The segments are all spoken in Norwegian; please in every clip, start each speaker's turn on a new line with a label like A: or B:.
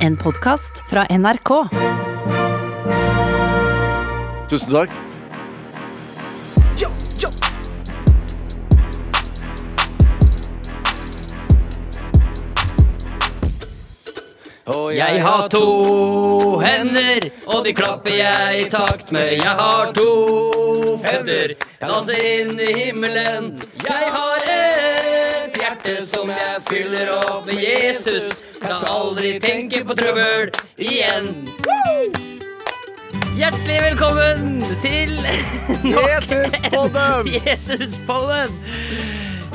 A: En podkast fra NRK.
B: Tusen takk.
C: Og
D: Jeg har to hender, og de klapper jeg i takt med. Jeg har to føtter, danser inn i himmelen. Jeg har et hjerte som jeg fyller opp med Jesus. Kan aldri tenke på trøbbel igjen. Hjertelig velkommen til
C: Jesus-podden!
D: Jesuspodden.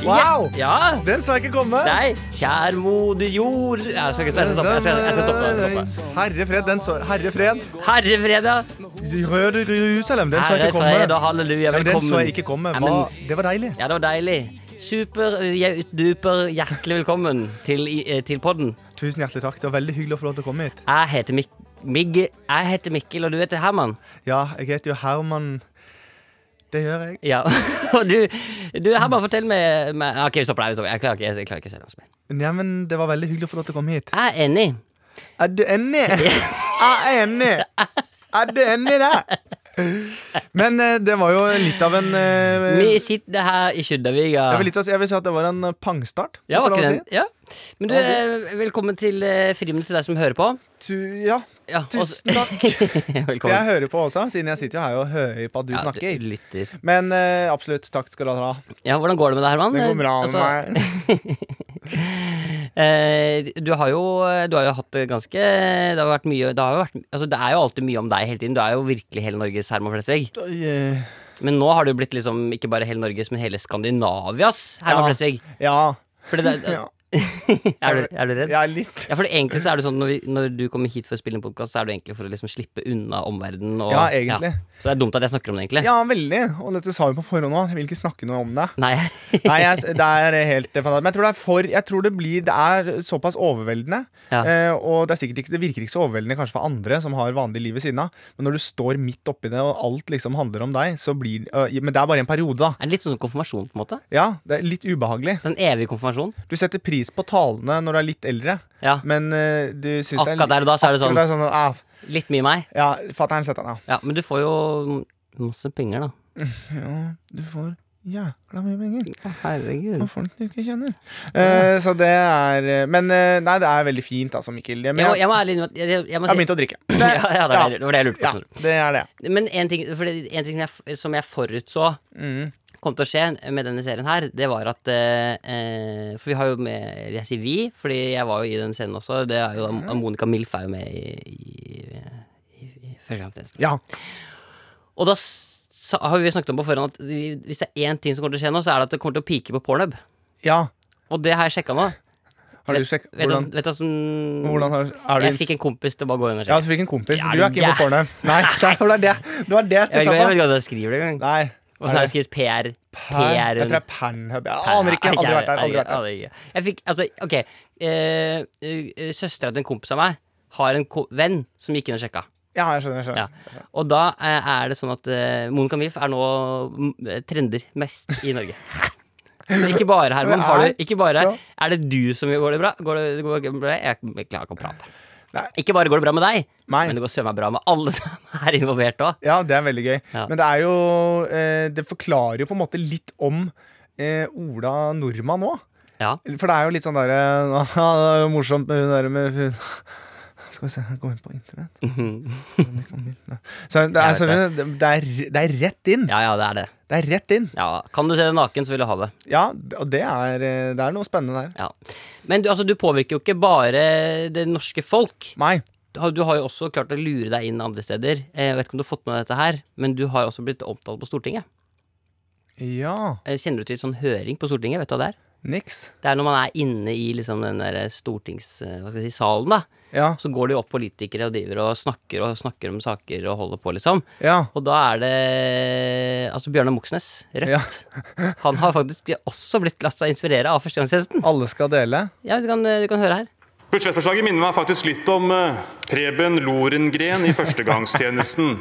C: Wow!
D: Ja.
C: Den skal ikke komme.
D: Nei, kjær moder jord Nei, Jeg skal ikke jeg skal stoppe. Jeg skal, jeg skal stoppe. Jeg skal stoppe.
C: Herre fred, den så, herre fred.
D: Herrefredag.
C: Røde Jerusalem, den skal
D: Ære
C: ikke komme.
D: fred og halleluja,
C: Ja, men den
D: velkommen.
C: så jeg ikke komme.
D: Nei,
C: Hva?
D: men-
C: Det var deilig.
D: Ja, det var deilig. Super, eh, duper, hjertelig velkommen til, i- eh, til podden.
C: Tusen hjertelig takk. Det var veldig hyggelig å få lov til å komme hit.
D: Jeg heter, Mik Mig jeg heter Mikkel, og du heter Herman.
C: Ja, jeg heter jo Herman. Det gjør jeg.
D: Ja, og du, du Herman, fortell meg, meg Ok, vi stopper der. vi stopper. Jeg klarer ikke, jeg klarer ikke å se det.
C: Neimen, det var veldig hyggelig å få lov til å komme hit.
D: Jeg er enig.
C: Er du enig? Er jeg enig? Er du enig i det? Men eh, det var jo litt av en eh,
D: Vi sitter her i
C: jeg
D: Skjøddaviga.
C: vil, litt, si- jeg vil si at det var en eh, pangstart.
D: Ja, var
C: hvis det er
D: ikke den?
C: lov å
D: Ja. Men du, eh, velkommen til eh, friminuttet til deg som hører på.
C: Si. Tu, ja,
D: Ja, og-
C: Tusen takk. For jeg
D: velkommen.
C: hører på også, siden jeg sitter jo her og hører på at du
D: Ja,
C: snakker.
D: du lytter.
C: Men eh, absolutt, takk skal du ha.
D: Ja, hvordan går det med deg, Herman?
C: Det går bra med
D: Altså,
C: meg.
D: Eh, du har jo Du har jo hatt det ganske Det har vært mye Det, har jo vært, altså, det er jo alltid mye om deg hele tiden. Du er jo virkelig hele Norges Herman Flesvig. Men nå har du blitt liksom ikke bare hele Norges, men hele Skandinavias Herman
C: Ja.
D: Flesvig.
C: Ja.
D: For det, det,
C: ja.
D: er, du, er du redd?
C: Jeg er litt
D: Ja, for det, egentlig så er det sånn når, vi, når du kommer hit for å spille en podkast, så er det egentlig for å liksom slippe unna omverdenen. Og,
C: Ja, egentlig.
D: Så det er dumt at jeg snakker om det, egentlig.
C: Ja, veldig. Og dette sa vi på forhånd òg. Jeg vil ikke snakke noe om det.
D: Nei.
C: Nei, jeg, det er helt fantastisk. Men jeg tror det er for Jeg tror det blir Det er såpass overveldende.
D: Ja.
C: Eh, og det, er sikkert ikke, det virker ikke så overveldende kanskje for andre som har vanlig liv ved siden av, men når du står midt oppi det, og alt liksom handler om deg, så blir øh, Men det er bare en periode, da.
D: Er det litt sånn som konfirmasjon, på en måte?
C: Ja, det er litt ubehagelig.
D: Den evige konfirmasjonen?
C: Du setter pris på talene når du er litt eldre,
D: Ja.
C: men eh, du syns det er
D: Akkurat der og da så er det
C: Akkurat
D: sånn.
C: der er det sånn ah,
D: Litt mye meg.
C: Ja, fatter'n setter den,
D: Ja, men du får jo masse penger, da.
C: ja. ja. Du får jækla mye penger
D: Å, herregud.
C: av folk du ikke kjenner. Eh, så det er eh, Men eh, nei, det er veldig fint, altså, Mikkel.
D: Jeg
C: Men
D: må,
C: jeg,
D: jeg må ærlig innrømme at jeg, jeg, jeg må
C: jeg har
D: si
C: begynt å drikke.
D: ja, ja, det, var det, det var det jeg lurte
C: Ja,
D: på. skjønner
C: det er det.
D: du. Men en ting, for det, en ting jeg, f- som jeg forutså
C: Mm.
D: kom til å skje med denne serien her, det var at eh, eh, For vi har jo med Jeg sier vi, fordi jeg var jo i den scenen også. Det er jo da, Monica Milf er jo med i, i, i, i Førstegangstjenesten.
C: Ja.
D: Og da s- sa, har vi snakket om på forhånd at vi, hvis det er én ting som kommer til å skje nå, så er det at det kommer til å pike på pornhub.
C: ja.
D: Og det har jeg sjekka nå.
C: Har du sjekket
D: Vet du hva
C: hvordan,
D: som- vet du hva som
C: hvordan har, er du
D: Jeg fikk en kompis til å bare gå inn og
C: Ja,
D: sjekke.
C: du fikk en kompis.
D: Ja,
C: Du er ikke inne på
D: ja.
C: porno. Nei, nei, det var det det var det jeg
D: Jeg vet
C: stussa
D: ikke jeg vet
C: på.
D: ikke hva jeg skriver det engang.
C: Nei.
D: Og så har det skrevet PR.
C: Per,
D: PR.
C: jeg tror det er Panhub. Jeg aner ikke. Aldri vært der. Aldri vært der.
D: der. Jeg fikk, altså, ok eh, Søstera til en kompis av meg har en ko venn som gikk inn og sjekka.
C: Ja, jeg skjønner. jeg
D: Ja.
C: skjønner
D: Og da eh, er det sånn at eh, Monica Milf er nå mm, eh, trender mest i Norge. Så ikke bare, Herman. Har det, ikke bare,
C: Så-
D: er det du som gjør- går det bra? Går det, går det bra? Jeg klarer ikke å prate.
C: Nei.
D: Ikke bare går det bra med deg,
C: Nei.
D: men det går søren meg bra med alle som er involvert òg.
C: Ja, det er veldig gøy.
D: Ja.
C: Men det er jo eh, Det forklarer jo på en måte litt om eh, Ola Nordmann òg.
D: Ja.
C: For det er jo litt sånn derre Det er jo morsomt med hun derre med hun Skal vi se, gå inn på internett Så det er,
D: Jeg vet
C: så det, det, er, det er rett inn.
D: ja, ja, det er det.
C: Det er rett inn.
D: Ja. Kan du se det naken, så vil du ha det.
C: Ja, og det er, eh, det er noe spennende der.
D: Ja. Men du, altså, du påvirker jo ikke bare det norske folk.
C: Nei.
D: Du har, du har jo også klart å lure deg inn andre steder. Eh, Jeg vet ikke om du har fått med deg dette her, men du har også blitt omtalt på Stortinget.
C: Ja.
D: Eh, Kjenner du til sånn høring på Stortinget? Vet du hva det er?
C: Niks.
D: Det er når man er inne i liksom den der stortings... eh, Hva skal jeg si, salen, da.
C: Ja.
D: Så går det jo opp politikere og driver og snakker og snakker om saker og holder på, liksom.
C: Ja.
D: Og da er det Altså Bjørnar Moxnes, Rødt. Han har faktisk også blitt latt seg inspirere av førstegangstjenesten.
C: Alle skal dele.
D: Ja, du kan, du kan høre her.
E: Budsjettforslaget minner meg faktisk litt om eh, Preben Lorengren i førstegangstjenesten.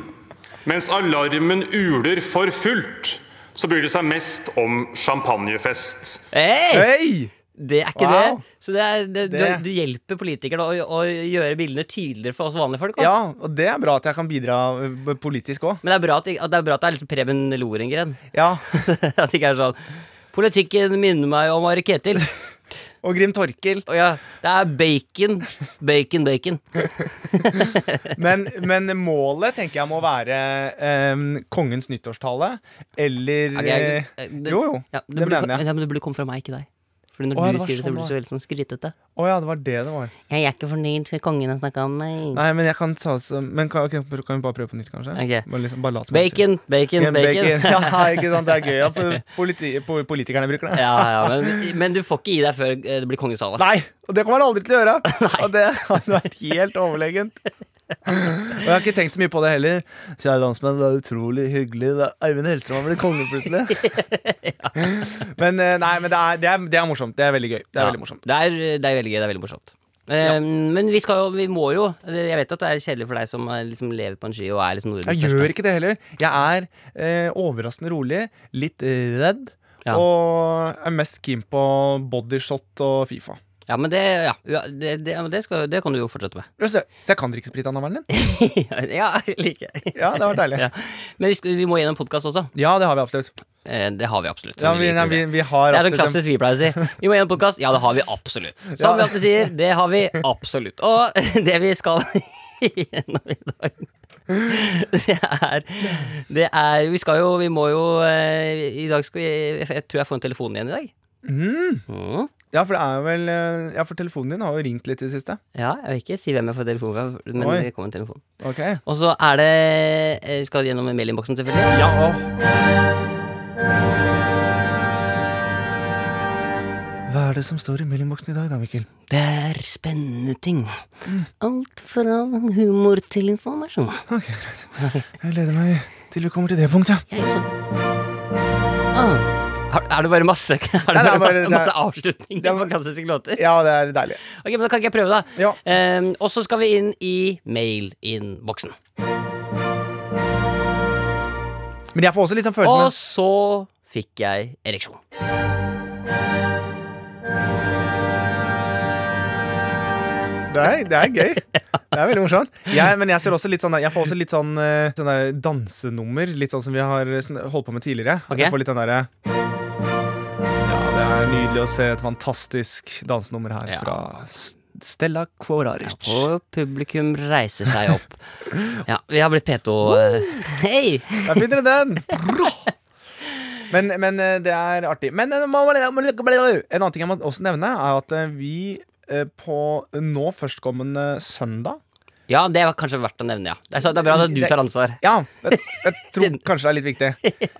E: Mens alarmen uler for fullt, så bryr de seg mest om champagnefest.
D: Hey!
C: Hei!
D: Det er ikke
C: Wow.
D: det. Så det er, det,
C: Det-
D: Du, du hjelper politikerne å, å gjøre bildene tydeligere for oss vanlige folk. da.
C: Ja, og det er bra at jeg kan bidra eh, politisk òg.
D: Men det er bra at, at det er, bra at det er liksom Preben Lorengren.
C: Ja.
D: at det ikke er sånn Politikken minner meg om Are Ketil.
C: Og Grim Torkel.
D: Og ja, det er bacon. Bacon, bacon.
C: Men, men målet tenker jeg må være eh, kongens nyttårstale. Eller
D: Ja, det er-
C: eh,
D: eh,
C: Jo, jo.
D: ja,
C: det
D: burde,
C: mener jeg.
D: Ja, men det burde komme fra meg, ikke deg. Fordi når
C: Å, ja, det
D: du
C: var
D: sier det, så
C: sånn
D: blir det så veldig sånn skrytete.
C: Å ja, det var det det var.
D: Jeg er ikke fornøyd med kongen har snakka om meg.
C: Nei, men jeg kan ta oss Men kan, ok, kan vi bare prøve på nytt, kanskje?
D: Ok.
C: Bare, liksom, bare lat som jeg sier.
D: Bacon, bacon,
C: Ja,
D: bacon.
C: Ja, ikke sant? Det er gøy at eh, politi po- politikerne bruker det.
D: ja, ja, men, men du får ikke gi deg før eh, det blir kongens tale.
C: Nei! Og det kommer han aldri til å gjøre. Og det hadde vært helt overlegent. Og jeg har ikke tenkt så mye på det heller. Kjære landsmenn, det er utrolig hyggelig. Det er Eivind Hellstrøm blir konge plutselig. Men eh, nei, men det er, det, er, det er morsomt. Det er veldig gøy. Det er
D: Ja.
C: veldig morsomt.
D: Det er, det er veldig gøy, det er veldig morsomt. Eh, Men vi skal jo, vi må jo Jeg vet at det er kjedelig for deg som eh, liksom lever på en ski og er liksom nordens
C: Jeg
D: største.
C: gjør ikke det heller. Jeg er eh, overraskende rolig, litt eh, redd,
D: Ja.
C: og er mest keen på bodyshot og Fifa.
D: Ja, men det, ja, ja, det, det, ja, men det, skal, det kan du jo fortsette med.
C: Så så jeg kan drikke sprit av navlen din?
D: ja, like.
C: Ja, det var deilig.
D: ja. Men vi, skal, vi må gjennom podkast også.
C: Ja, det har vi absolutt.
D: Eh, Det har vi absolutt.
C: Ja,
D: som
C: vi,
D: du liker
C: nei,
D: å
C: vi,
D: si.
C: vi har
D: det er sånn
C: absolutt en-
D: klassisk vi pleier å si. Vi må gjennom podkast. Ja, det har vi absolutt. Som vi
C: Ja.
D: alltid sier, det har vi absolutt. Og det vi skal gjennom i dag, det er, det er Vi skal jo Vi må jo eh, I dag skal vi Jeg tror jeg får en telefon igjen i dag. Mm.
C: Ja, for det er vel eh, Ja, for telefonen din har jo ringt litt i det siste.
D: Ja, jeg vil ikke si hvem jeg får telefon fra, men
C: Oi.
D: det kom en telefon.
C: Ok.
D: Og så er det eh, Vi skal gjennom mailinnboksen, selvfølgelig.
C: Ja, og Hva er det som står i mailinnboksen i dag, da, Mikkel?
D: Det er spennende ting. Alt fra humor til informasjon.
C: Ok, greit. Jeg gleder meg til vi kommer til det punktet.
D: Jeg også. Ah. Er- Er det bare masse, er det
C: det
D: bare,
C: er bare- det er-
D: masse avslutninger
C: det er-
D: på klassiske låter?
C: Ja, det er deilig.
D: Ok, men Da kan ikke jeg prøve, da.
C: Ja.
D: Ehm, og så skal vi inn i mail-innboksen.
C: Men jeg får også litt sånn følelsen
D: Og
C: av
D: så fikk jeg ereksjon.
C: det er, det er gøy. Det er veldig morsomt. Jeg, men jeg ser også litt sånn der- Jeg får også litt sånn, eh, sånn der dansenummer, litt sånn som vi har eh, sånn- holdt på med tidligere. At
D: Ok.
C: Jeg får litt den derre Ja, det er nydelig å se et fantastisk dansenummer her
D: Ja.
C: fra S- Stella Kvoraric.
D: Og publikum reiser seg opp. Ja, vi har blitt P2 eh, Hei!
C: Der finner du den! Men, men eh, det er artig. Men eh, må- må- må- må- en annen ting jeg må også nevne, er at eh, vi eh, på nå førstkommende søndag
D: Ja, det var kanskje verdt å nevne, ja. Altså, det er bra at du tar ansvar.
C: Ja, jeg, jeg tror kanskje det er litt viktig.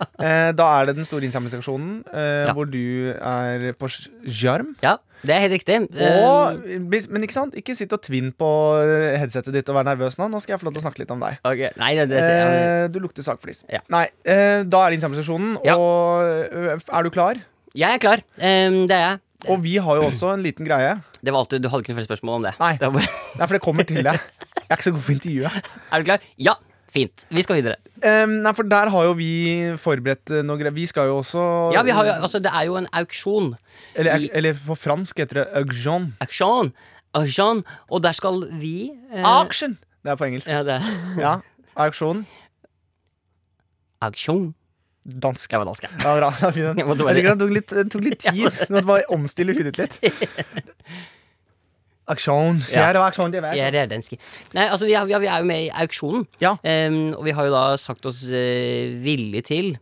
C: Eh, da er det den store innsamlingsaksjonen eh,
D: Ja.
C: hvor du er på sj- skjerm.
D: Ja, det er helt riktig. Ehm,
C: Og, men ikke sant, ikke sitt og tvinn på eh, headsetet ditt og vær nervøs nå. Nå skal jeg få lov til å snakke litt om deg.
D: ok, Nei, det, det, ja, men-
C: Eh, du lukter sagflis.
D: Ja.
C: Nei, eh, da er det innsamlingsaksjonen,
D: Ja.
C: og eh, er du klar?
D: Jeg er klar. Ehm, det er jeg.
C: Og vi har jo også en liten greie.
D: Det var alltid, Du hadde ikke noe flere spørsmål om det?
C: Nei.
D: Det var bare,
C: Nei, for det kommer til deg. Jeg er ikke så god på intervju. jeg.
D: er du klar? Ja! Fint. Vi skal videre.
C: Em, Ehm, nei, for der har jo vi forberedt eh, noe greier. Vi skal jo også
D: Ja, vi har jo, altså Det er jo en auksjon.
C: eller,
D: i-
C: eller på fransk heter det auction.
D: Auksjon! Auksjon! Og der skal vi eh,
C: Auction! Det er på engelsk.
D: ja, det er
C: Ja, Auksjon.
D: Auksjon.
C: Dansk.
D: Jeg var dansk, jeg.
C: Ja, bra. Det er fint.
D: Jeg måtte bare-
C: Jeg liker at det tok litt, det tok litt tid. Du måtte bare omstille hudet ditt litt. Auksjon.
D: Ja.
C: Ja, det var auksjon, det var
D: Jeg
C: auksjon.
D: er dansk. Nei, altså, vi er, vi er- vi er jo med i auksjonen.
C: Ja.
D: Ehm, og vi har jo da sagt oss eh, villige til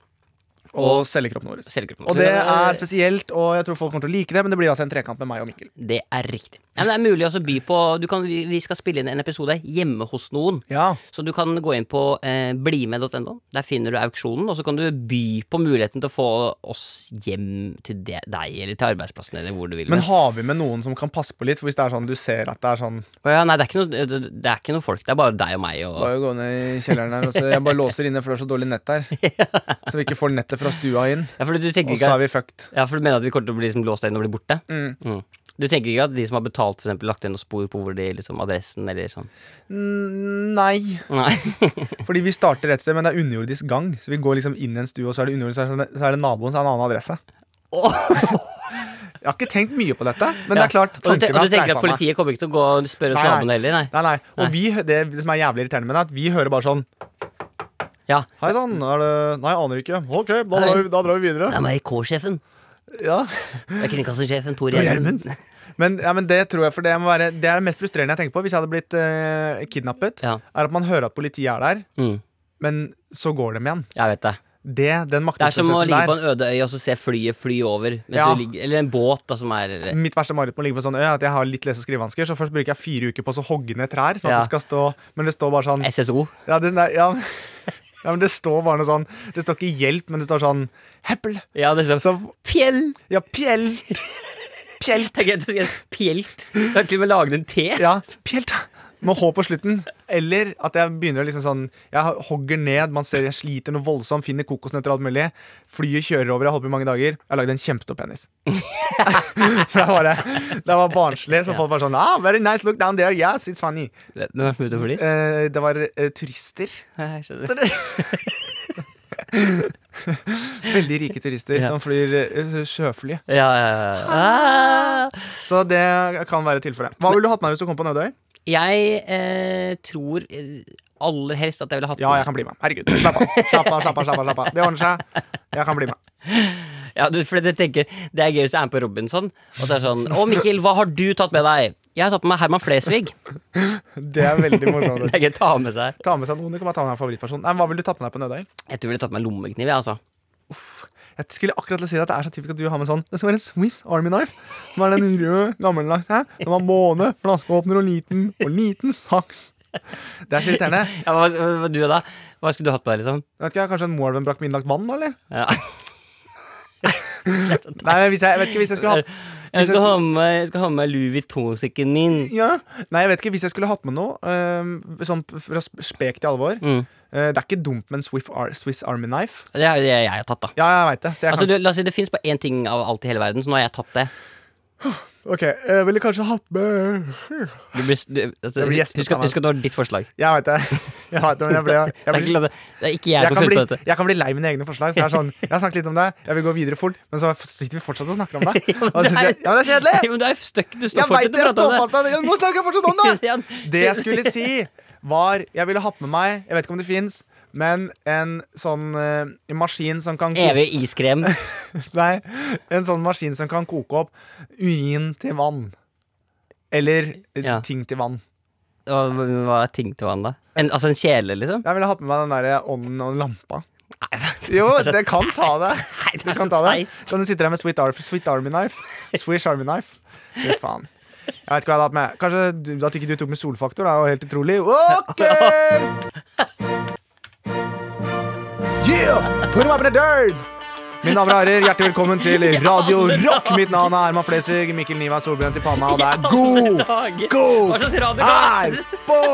C: Og selgekroppen vår.
D: selvgruppen.
C: Og det er spesielt, og jeg tror folk kommer til å like det, men det blir altså en trekant med meg og Mikkel.
D: det er riktig. Ja, men det er mulig også å by på du kan, vi, vi skal spille inn en episode hjemme hos noen.
C: Ja.
D: Så du kan gå inn på eh, blimed.no. Der finner du auksjonen, og så kan du by på muligheten til å få oss hjem til de, deg eller til arbeidsplassen eller hvor du vil.
C: Men har vi med noen som kan passe på litt? For hvis det er sånn du ser at det er sånn
D: Å ja, nei, det er, ikke noe, det, det er ikke noe folk, det er bare deg og meg og
C: Bare gå ned i kjelleren her, og så jeg bare låser inne, for det er så dårlig nett her. Så vi ikke får nettet fra stua inn.
D: ja, for du, tenker
C: Og
D: ikke
C: så
D: at,
C: er vi fucked.
D: ja, for du mener at vi kommer til å bli liksom, låst inn og bli borte?
C: Mm.
D: Mm. Du tenker ikke at de som har betalt, for eksempel, lagt igjen noen spor på hvor de, liksom, adressen eller sånn?
C: Mm, Nei.
D: Nei.
C: Fordi vi starter et sted, men det er underjordisk gang. Så vi går liksom inn i en stue, og så er det underjordisk, så er det, så er det naboen, så er det en annen adresse. Jeg har ikke tenkt mye på dette, men det er klart
D: og, du, te- og du
C: tanken har
D: tenker
C: streifa
D: at
C: meg.
D: politiet kommer ikke til å gå og spørre hos naboen heller? Nei.
C: Nei, nei. Og vi, det som er jævlig irriterende med det, er at vi hører bare sånn
D: Ja.
C: Hei sann, er det Nei, jeg aner ikke. OK, da drar vi, da drar vi
D: Det
C: videre.
D: er meg, K-sjefen.
C: Ja.
D: Det er kringkastingssjefen Tor Gjermund.
C: Hjelmen. Men, ja, men det tror jeg, for det, må være, det er det mest frustrerende jeg tenker på hvis jeg hadde blitt eh, kidnappet.
D: Ja.
C: Er at man hører at politiet er der,
D: Mm,
C: men så går de igjen.
D: jeg vet det.
C: Det, den
D: Det er som å
C: maktesløsheten
D: ligge på
C: der.
D: en øde øy og så se flyet fly over. Mens
C: Ja.
D: du ligger, eller en båt, da, som er eh,
C: Mitt verste mareritt med å ligge på en sånn øy er at jeg har litt lese- og skrivevansker, så først bruker jeg fire uker på å så hogge ned trær, sånn at
D: Ja.
C: det skal stå Men det står bare sånn
D: SSO.
C: Ja, det, nei, ja, ja, men det står bare noe sånn Det står ikke hjelp, men det står sånn Heppel.
D: Ja, det er
C: Så,
D: sånn Fjell!
C: ja, pjelt. Pjelt.
D: Det er greit å si at Pjelt. Du har til og med laget en T.
C: Ja, pjelt. Med H på slutten. Eller at jeg begynner å liksom sånn Jeg hogger ned, man ser jeg sliter noe voldsomt, finner kokosnøtter og alt mulig. Flyet kjører over, jeg har holdt på i mange dager. Jeg har lagd en kjempestor penis. For det var, det var barnslig, så folk bare sånn ah, Very nice, look down there. Yes, it's funny.
D: Hvem er det som er ute og flyr?
C: Eh, det var eh, turister.
D: Jeg skjønner.
C: Veldig rike turister som flyr eh, sjøfly.
D: Ja, ja, ja. Ah.
C: Så det kan være tilfellet. Hva ville du hatt med deg hvis du kom på Nødøy?
D: Jeg eh, tror eh, aller helst at jeg ville hatt
C: Ja, jeg kan bli med. Herregud. Slapp av, slapp av, slapp av. slapp av, slapp av. Det ordner seg. Jeg kan bli med.
D: Ja, du, for jeg tenker, Det er gøy hvis jeg er med på Robinson, og så er det sånn Å, Mikkel, hva har du tatt med deg? Jeg har tatt med meg Herman Flesvig.
C: Det er veldig
D: Det
C: morsomt.
D: er gøy å ta med seg.
C: Ta med seg noen. Du kan bare ta med deg en favorittperson. Nei, men Hva ville du tatt med deg på Nødøy?
D: Jeg tror jeg ville tatt med meg lommekniv, jeg, altså.
C: Jeg skulle akkurat til å si at det er så typisk at du har med sånn Det skal være en Swiss Army Knife. Som er den røde, gammeldags hæ? Som har måne, flaskeåpner og liten. Og liten saks. Det er så irriterende.
D: Ja, hva, hva, hva du da? Hva skulle du hatt med deg, liksom?
C: Jeg Vet ikke, Kanskje en Moelven brakk med innlagt vann, da, eller?
D: Ja.
C: Nei, hvis jeg, jeg vet ikke hvis jeg skulle hatt
D: Jeg skal ha med, jeg skal ha med Louis Vuitton-sekken min.
C: ja. Nei, jeg vet ikke hvis jeg skulle hatt med noe. øhm, sånn fra sp- spek til alvor.
D: Mm.
C: Eh, det er ikke dumt med en Swift Ar Swiss Army Knife.
D: Det er jo det jeg har tatt, da.
C: Ja, jeg veit det. Så jeg
D: Altså,
C: kan...
D: du, la oss si Det fins bare én ting av alt i hele verden, så nå har jeg tatt det.
C: Ok, jeg ville kanskje hatt med
D: Du blir, s- du, altså,
C: Jeg blir gjespet
D: husk, at-
C: av meg.
D: husk at det var ditt forslag.
C: Jeg veit det. Jeg vet det, men jeg ble, jeg
D: Det er
C: blir-
D: ikke, det er ikke jeg, som
C: jeg kan,
D: har
C: bli,
D: funnet på dette.
C: jeg kan bli lei mine egne forslag. For det er sånn, jeg har snakket litt om det, jeg vil gå videre fort, men så sitter vi fortsatt og snakker om det.
D: Ja, men
C: Og så
D: det
C: synes jeg,
D: er-
C: ja, men det er kjedelig!
D: Men du er stuck, du står
C: Jeg veit
D: fortsatt
C: det,
D: og
C: jeg står
D: prater om
C: fast av det. Nå snakker jeg fortsatt om det!
D: Ja,
C: Det jeg skulle si, var Jeg ville hatt med meg, jeg vet ikke om det fins, men en sånn eh, en maskin som kan koke,
D: Evig iskrem.
C: Nei, en sånn maskin som kan koke opp urin til vann. Eller eh,
D: Ja.
C: ting til vann.
D: Hva, hva er ting til vann, da? En, altså en kjele, liksom?
C: Jeg ville hatt med meg den der ånden og lampa. Jo, det kan ta det.
D: Nei, det
C: Du
D: er
C: kan
D: så
C: ta det.
D: teit.
C: Kan du sitte der med Sweet, Ar Sweet Army Knife? Swish Army Knife. Fy faen. Jeg vet ikke hva jeg hadde hatt med. Kanskje du, at ikke du tok med solfaktor, er jo helt utrolig. Ok! Yeah! Put 'em up in the dirt! Mine damer og herrer, hjertelig velkommen til Radio Rock. Mitt navn er Herman Flesvig. Mikkel Niva Solbrent i panna, og det er god
D: dager.
C: god
D: Hva slags radio var
C: her
D: det?
C: på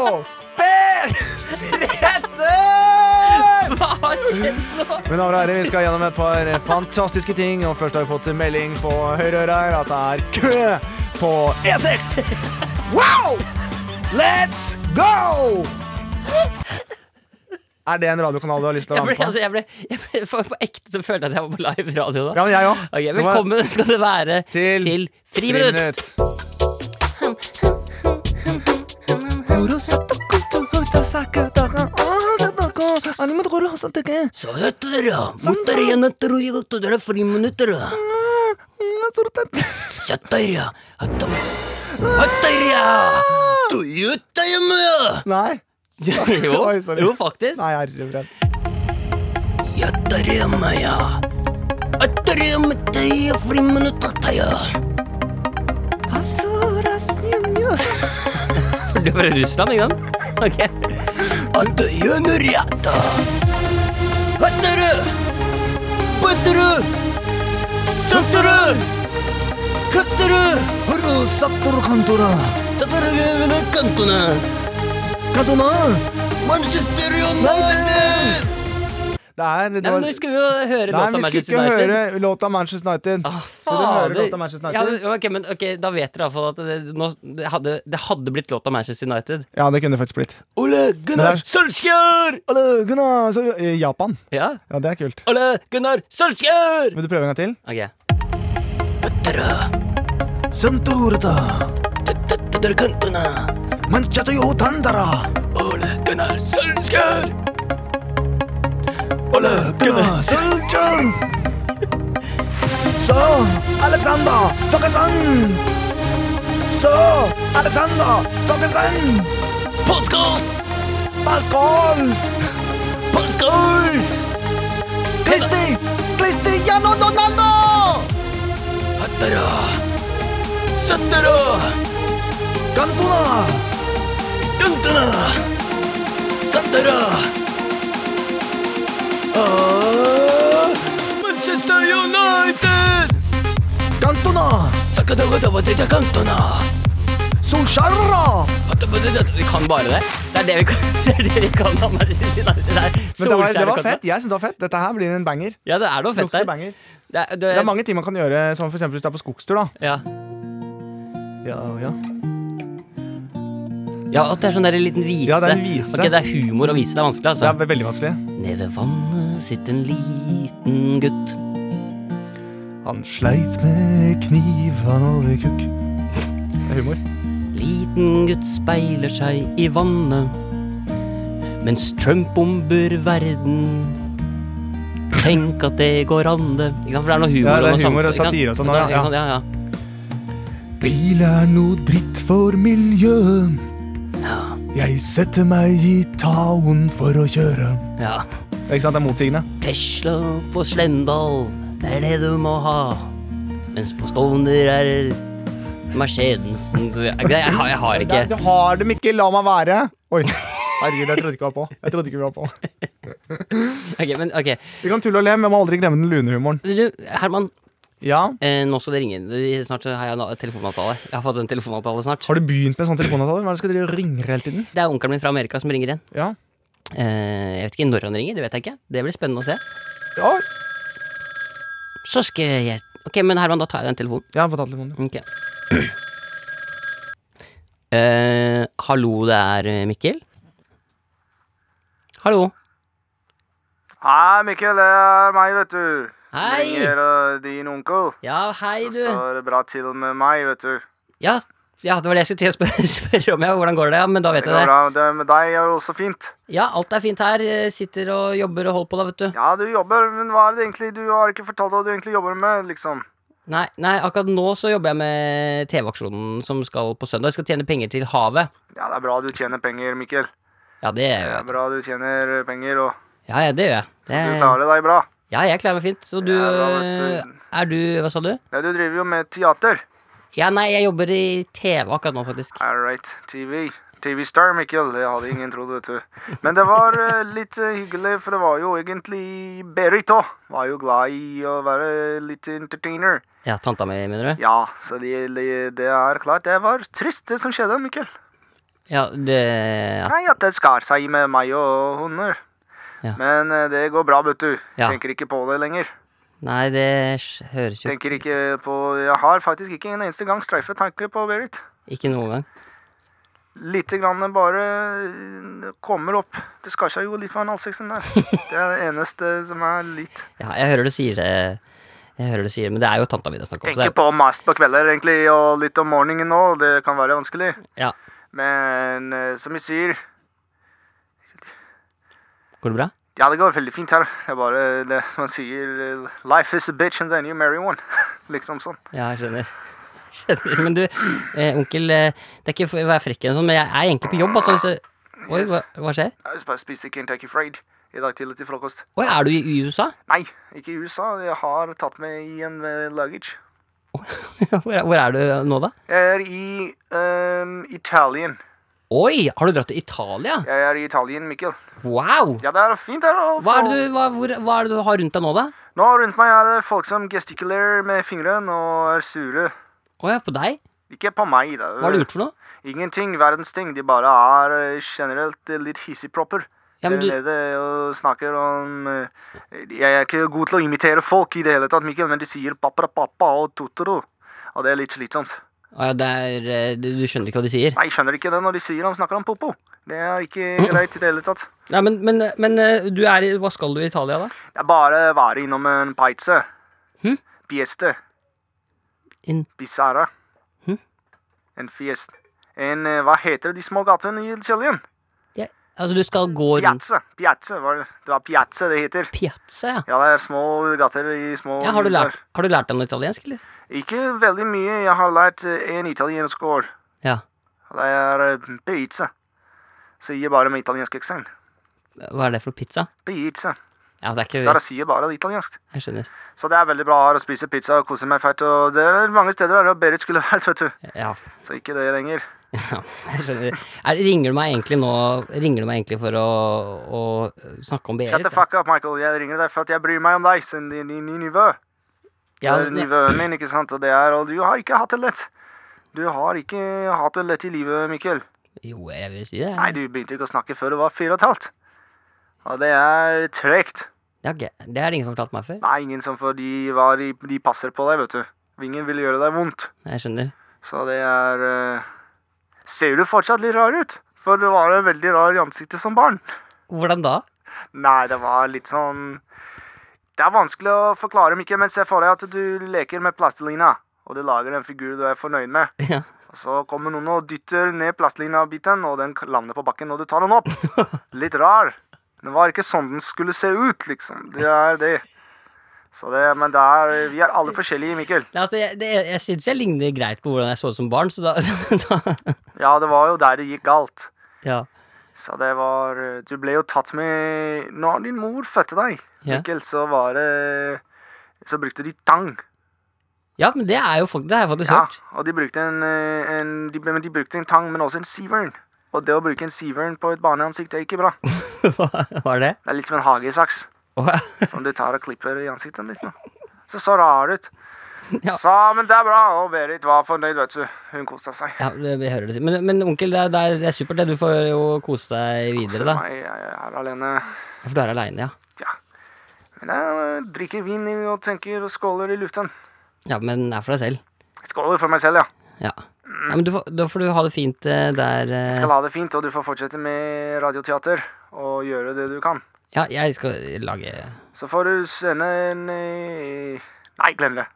C: P3!
D: Hva har skjedd nå?
C: Mine damer og herrer, vi skal gjennom et par fantastiske ting. Og først har vi fått en melding på høyreøret her at det er kø på E6. Wow! Let's go! Er det en radiokanal du har lyst til å
D: Jeg ble,
C: være med på?
D: altså, jeg ble, jeg ble for, på ekte så følte jeg at jeg var på live radio da.
C: Ja, men jeg òg.
D: Ok, velkommen skal det være
C: Til-
D: til, Friminutt. Så heter dere Mot dere igjen etter og gitt dere er friminutter. Sett dere Hatt dere. Hatt dere. Du gjør deg hjemme.
C: Nei.
D: Jo,
C: Oi, sorry.
D: jo, faktisk.
C: Nei, herrebrent.
D: Hatt dere hjemme, ja. Hatt dere hjemme til jeg er friminutt, hatt dere, ja. For du er fra Russland, ikke sant? Ok. Hatt dere hjemme, ja, da. Hatt dere. Hatt dere. Satt dere. Katt dere. Satt dere hjemme i kantene. Manchester United.
C: Det er det
D: Nei,
C: var-
D: men nå skal vi jo høre
C: Nei,
D: låta
C: vi skulle
D: Manchester
C: ikke
D: United.
C: høre låta Manchester United.
D: Ah,
C: Skal dere høre
D: fader.
C: låta Manchester
D: Ja,
C: United?
D: men- ok, men ok, Da vet dere iallfall at det, nå, det, hadde, det hadde blitt låt av Manchester United.
C: Ja, det kunne det faktisk blitt.
D: Ole
C: Gunnar
D: Solskjær!
C: Ole Gunnar så, eh, Japan.
D: Ja.
C: Ja, det er kult.
D: Ole Gunnar Solskjær!
C: Vil du prøve en gang til?
D: Ok.
B: Så, Alexander Fuckesson! Så, Alexander Fuckesson! Paskals! Kristi! Cristiano Donaldo! Cantona!
D: Manchester United!
B: Cantona! Solskjærere!
D: Vi kan bare det. Det er det vi kan, det er det vi kan om Manchester United. Det er
B: Men det var, det
D: Solskjær og
B: var
D: Cantona.
B: fett. Jeg synes det var fett. Dette her blir en banger.
D: Ja, det er noe fett Eh.
B: Lukter
D: der.
B: banger.
D: Det er, det,
B: Det er mange ting man kan gjøre, som for eksempel hvis du er på skogstur, da.
D: ja.
B: Ja, ja.
D: ja, at det er sånn der en liten vise.
B: Ja, det er en vise.
D: Ok, det er humor å vise. Det er vanskelig,
B: Det
D: altså.
B: er ve- veldig vanskelig.
D: Nede ved vannet sitter en liten gutt.
B: Han sleit med kniv, han hadde kukk. Det er humor.
D: Liten gutt speiler seg i vannet mens Trump bomber verden. Tenk at det går an, det. Ikke sant, for det er noe humor,
B: Ja, det
D: noe
B: er humor og
D: samfunn, ikke
B: satire og
D: sant?
B: sånn, ja,
D: Ikke sant, ja, ja.
B: Bil er noe dritt for miljøet. Jeg setter meg i tauen for å kjøre.
D: ja.
B: Ikke sant, det er motsigende.
D: Tesla på Slemdal, det er det du må ha. Mens på Stovner er Mercedesensen så jeg, jeg, har- jeg har ikke
B: Du har dem ikke, la meg være! Oi, herregud, jeg trodde ikke vi var på. Jeg trodde ikke Vi var på
D: Ok, men ok.
B: Vi kan tulle og le, men jeg må aldri glemme den lune humoren.
D: Du, Herman,
B: Ja,
D: eh, nå skal det ringe. Snart så har jeg en telefonavtale. Jeg har fått en telefonavtale snart.
B: Har du begynt med en sånn telefonavtale? Hva er det du skal drive og ringe hele tiden?
D: Det er onkelen min fra Amerika som ringer igjen.
B: Ja.
D: Eh, jeg vet ikke når han ringer, det vet jeg ikke. Det blir spennende å se.
B: Ja,
D: Så skal jeg Ok, men Herman, da tar jeg den telefonen.
B: jeg har fått tatt telefonen.
D: Ok. Eh, hallo, det er eh, Mikkel. Hallo.
B: Hei, Mikkel. Det er meg, vet du.
D: Hei!
B: din onkel.
D: Ja, hei, du.
B: det bra til med meg, vet du.
D: Ja, ja det var det jeg skulle til å spørre, spørre om. Ja. Hvordan går det? Ja, men da vet jeg det.
B: med deg er det også fint.
D: Ja, alt er fint her. Eh, Sitter og jobber og holder på, da, vet du.
B: Ja, du jobber, men hva er det egentlig Du har ikke fortalt hva du egentlig jobber med, liksom.
D: Nei, nei, akkurat nå så jobber jeg med TV-aksjonen som skal på søndag. Jeg skal tjene penger til havet.
B: Ja, det er bra du tjener penger, Mikkel.
D: Ja, det
B: Det
D: gjør
B: er
D: jeg.
B: bra du tjener penger, og
D: Ja, ja, det gjør jeg. Det
B: du klarer deg bra.
D: Ja, jeg klarer meg fint. Så du, eh,
B: Ja, da vet
D: Er du Hva sa du?
B: Ja, du driver jo med teater.
D: Ja, nei, jeg jobber i TV akkurat nå, faktisk.
B: All right, TV. TV-star, Mikkel. Det hadde ingen trodd, vet du. Men det var eh, litt eh, hyggelig, for det var jo egentlig Berit òg. Var jo glad i å være litt entertainer.
D: Ja, tanta mi, mener du?
B: Ja, så det, det, det er klart. Det var trist, det som skjedde, Mikkel.
D: Ja, det ja.
B: Nei, at det skar seg med meg og hunder.
D: Ja.
B: Men eh, det går bra, vet du.
D: Ja.
B: Tenker ikke på det lenger.
D: Nei, det s- høres jo
B: Tenker ikke på Jeg har faktisk ikke en eneste gang streifet tanke på Berit.
D: ikke noen gang.
B: Lite grann bare eh, kommer opp. Det skar seg jo litt fra halsseksen der. Det er det eneste som er litt
D: Ja, jeg hører du sier det. Jeg hører du sier det, men det er jo tanta mi det er snakk om. Så
B: Tenker
D: det,
B: på mast på kvelder, egentlig, og litt om morgenen òg. Det kan være vanskelig.
D: ja.
B: Men eh, som jeg sier
D: Går det bra?
B: Ja, det går veldig fint her. Det er bare det man sier eh, Life is a bitch and then you marry one. liksom sånn.
D: Ja, jeg skjønner. skjønner. Men du, eh, onkel, eh, det er ikke for å være frekk, eller sånn, men jeg er egentlig på jobb, altså. Hvis jeg... Oi, hva, hva skjer?
B: Jeg sp- spiste Kentucky Fried i dag tidlig til frokost.
D: Oi, er du i USA?
B: Nei, ikke i USA. Jeg har tatt med i en eh, luggage.
D: Hvor er, hvor er du eh, nå, da?
B: Jeg er i um, Italien.
D: Oi, har du dratt til Italia?
B: Jeg er i Italien, Mikkel.
D: Wow!
B: Ja, det er fint her. og
D: Hva er, det
B: folk-
D: du, hva, hvor, hva er det du har rundt deg nå, da?
B: Nå rundt meg er det folk som gestikulerer med fingrene og er sure.
D: Å ja, på deg?
B: Ikke på meg, da.
D: Hva har du gjort for noe?
B: Ingenting. Verdens ting. De bare er eh, generelt eh, litt hissigpropper.
D: Ja, men
B: Der
D: du,
B: nede og snakker om eh, Jeg er ikke god til å imitere folk i det hele tatt, Mikkel, men de sier papra pappa og totoro. Og det er litt slitsomt.
D: Å ja, det er, eh, du du skjønner ikke hva de sier?
B: Nei, jeg skjønner ikke det når de sier de snakker om popo. Det er ikke
D: Hm.
B: greit i det hele tatt.
D: Ja, men, men, men eh, du er i, hva skal du i Italia, da?
B: Jeg bare var innom en pizza.
D: Hm?
B: Pieste.
D: En Hm?
B: Bizarra. En fies... En eh, Hva heter det, de små gatene i Kjellien?
D: ja, Altså, du skal gå rundt
B: Piazza. Piazza, var det. det var piazza det heter.
D: Piazza, ja.
B: Ja, det er små gater i små
D: ja har, du lært, har du lært deg noe italiensk, eller?
B: Ikke veldig mye. Jeg har lært eh, en italiensk ord.
D: Ja.
B: Det er eh, pizza. Sier bare med italiensk aksent.
D: Hva er det for pizza?
B: Pizza.
D: Ja, det er
B: Så
D: ikke
B: jeg sier bare det italiensk.
D: Jeg skjønner.
B: Så det er veldig bra her å spise pizza og kose meg fælt. Og det er mange steder der og Berit skulle vært, vet du.
D: Ja,
B: Så ikke det lenger.
D: ja jeg skjønner. Er, ringer du meg egentlig nå Ringer du meg egentlig for å, å snakke om
B: Shut
D: Berit?
B: the fuck up, Michael. Jeg ringer deg for at jeg bryr meg om deg, siden din din nivå.
D: Ja,
B: Det er
D: men-
B: nivåen min, ikke sant. Og det er Og du har ikke hatt det lett. Du har ikke hatt det lett i livet, Mikkel.
D: jo, jeg vil si det.
B: Nei, du begynte ikke å snakke før du var fire og et halvt. Og det er tregt.
D: Ja, ok. Det er det ingen som har fortalt meg før.
B: Nei, ingen som for de, var, de, de passer på deg, vet du. Ingen vil gjøre deg vondt.
D: Jeg skjønner.
B: Så det er eh, Ser du fortsatt litt rar ut? For du var jo veldig rar i ansiktet som barn.
D: Hvordan da?
B: Nei, det var litt sånn Det er vanskelig å forklare, Mikkel, men se for deg at du leker med plastelina. Og du lager en figur du er fornøyd med.
D: Ja.
B: Og så kommer noen og dytter ned plastelina-biten, og den lander på bakken, og du tar den opp. Litt rar. Det var ikke sånn den skulle se ut, liksom. Det er det. Så det, men det er, vi er alle forskjellige, Mikkel.
D: Nei, altså, jeg, det, jeg syns jeg ligner greit på hvordan jeg så ut som barn, så da, da
B: Ja, det var jo der det gikk galt.
D: Ja.
B: Så det var Du ble jo tatt med Når din mor fødte deg,
D: Ja.
B: Mikkel, så var det Så brukte de tang.
D: ja, men det er jo folk, det har jeg faktisk
B: Ja,
D: hørt.
B: og de brukte en, eh, en de, men de brukte en tang, men også en sivern. Og det å bruke en sivern på et barneansikt er ikke bra. Det
D: Hva var det?
B: er litt som en hagesaks
D: Åh,
B: som du tar og klipper i ansiktet ditt. nå. Så så rar ut.
D: Ja.
B: Så, men det er bra. Og Berit var fornøyd, vet du. Hun kosa seg.
D: Ja, vi vi hører det. Men, men onkel, det er, det er- det er supert. det. Du får jo kose deg videre, da.
B: Meg, jeg er alene.
D: Ja, For du er aleine, ja.
B: Ja. Men jeg eh, drikker vin og tenker og skåler i luften.
D: Ja, Men det er for deg selv.
B: Skåler for meg selv, ja.
D: Ja. ja men du får, da får du ha det fint eh, der. eh.
B: Skal ha det fint, og du får fortsette med radioteater og gjøre det du kan.
D: Ja, jeg skal lage
B: Så får du sende en eh, Nei, glem det.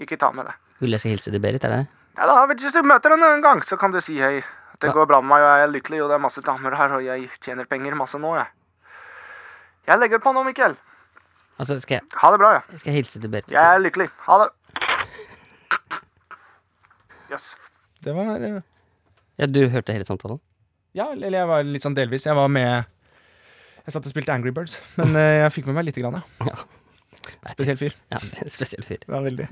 B: Ikke ta med det.
D: Vil jeg skal hilse til Berit, er det?
B: Ja, da, vet du, Hvis du møter henne en gang, så kan du si hei. Det
D: Ja.
B: går bra med meg, og jeg er lykkelig, og det er masse damer her, og jeg tjener penger masse nå, jeg. Jeg legger på nå, Mikkel.
D: Altså, skal jeg,
B: Ha det bra, ja.
D: skal jeg hilse til Berit?
B: Jeg er lykkelig. Ha det. Jøss. Yes.
C: Det var eh,
D: Ja, du hørte hele samtalen?
C: Ja, eller jeg var litt sånn delvis. Jeg var med Jeg satt og spilte Angry Birds, men eh, jeg fikk med meg lite grann, ja.
D: Ja.
C: Spesiell fyr.
D: Ja, en spesiell fyr.
C: Det var veldig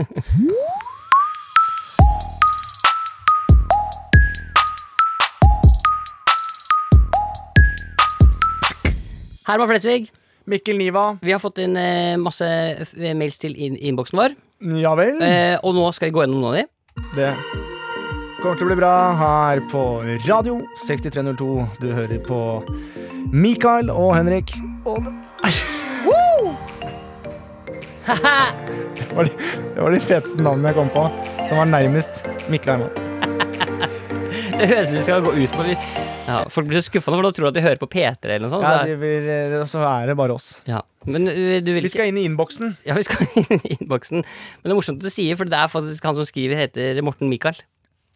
D: Herman Flesvig,
C: Mikkel Niva.
D: vi har fått inn eh, masse f- mails til inn- innboksen vår,
C: Ja vel?
D: eh, og nå skal vi gå gjennom noen av de.
C: Det kommer til å bli bra her på Radio 6302. Du hører på Mikael og Henrik. Og det Det var, de, det var de feteste navnene jeg kom på, som var nærmest Mikkel Herman.
D: Det høres ut som vi skal gå ut på ja, Folk blir så skuffa nå, for da tror de at de hører på P3 eller noe sånt.
C: Ja,
D: så-
C: de vil, eh, så er det bare oss.
D: Ja, men ø, du vil
C: Vi
D: ikke
C: skal inn i innboksen.
D: Ja, vi skal inn i innboksen. Men det er morsomt at du sier, for det er faktisk han som skriver, heter Morten Michael.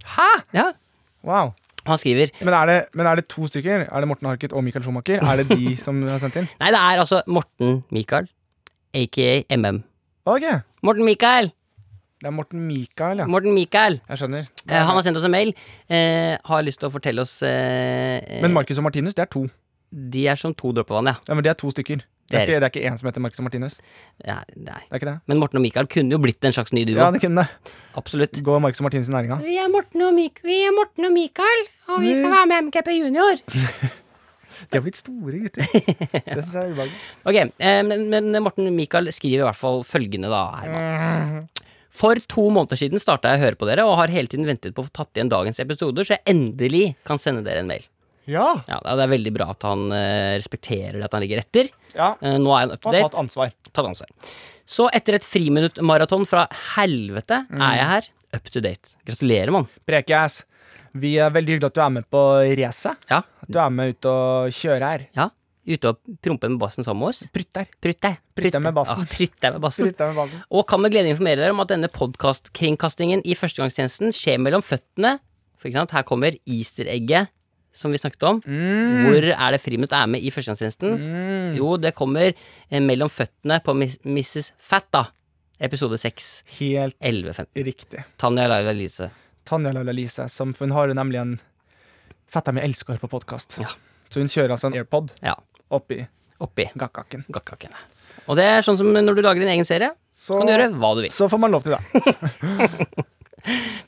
C: Hæ?
D: Ja,
C: Wow.
D: han skriver
C: Men er, det, men er det to stykker? Er det Morten Harket og Mikael Schumacher? Er det de som har sendt inn?
D: Nei, det er altså Morten Michael, aka MM.
C: Ok, det
D: Morten Michael!
C: er Morten Mikael, ja.
D: Morten Michael!
C: Jeg skjønner.
D: Eh, han har sendt oss en mail. eh, har lyst til å fortelle oss eh,
C: Men Marcus og Martinus, det er to.
D: De er som to dråper vann, ja.
C: Ja, men det er to stykker.
D: Det
C: Det er
D: er-
C: ikke, det er ikke én som heter Marcus og Martinus. Det
D: ja. Nei.
C: er ikke det?
D: Men Morten og Michael kunne jo blitt en slags ny duo.
C: Ja, det kunne det.
D: Absolutt.
C: Gå Marcus og Martinus i næringa.
F: Vi er Morten og, Mik vi er Morten og Mikael, og vi skal være med MGP Junior.
C: De har blitt store gutter. Det syns jeg er ubehagelig.
D: Ok, eh, men, men Morten Mikael skriver i hvert fall følgende da, Herman. For to måneder siden starta jeg å høre på dere, og har hele tiden ventet på å få tatt igjen dagens episoder, så jeg endelig kan sende dere en mail.
C: Ja.
D: Ja, Det er veldig bra at han eh, respekterer det, at han ligger etter.
C: ja.
D: Eh, nå er han up to
C: Og
D: date.
C: tatt ansvar.
D: Tatt ansvar. Så etter et friminuttmaraton fra helvete
C: Mm.
D: er jeg her, up to date. Gratulerer, mann.
C: Prekeass. Vi er veldig hyggelig at du er med på racet.
D: Ja.
C: At du er med ut og kjøre her.
D: ja. ute og promper med bassen sammen med oss.
C: Prytter.
D: Prytter.
C: Prytter med bassen.
D: Ah, prytter med bassen.
C: Prytter med basen.
D: Og kan med glede informere dere om at denne podkastkringkastingen i førstegangstjenesten skjer mellom føttene. For ikke sant, her kommer easter-egget som vi snakket om.
C: Mm.
D: Hvor er det friminutt er med i førstegangstjenesten? Jo, det kommer eh, mellom føttene på Miss- Mrs. Fat, da. Episode 6.
C: Helt
D: 11.15.
C: riktig.
D: Tanja Laila Lise.
C: Tanja Lalla Lise, som, for hun har jo nemlig en Fetteren min elsker å høre på podkast.
D: Ja.
C: Så hun kjører altså en AirPod
D: Ja.
C: oppi
D: Oppi
C: gakkaken.
D: gakkakene. Og det er sånn som når du lager din egen serie.
C: Så,
D: Kan du gjøre hva du vil.
C: så får man lov til det.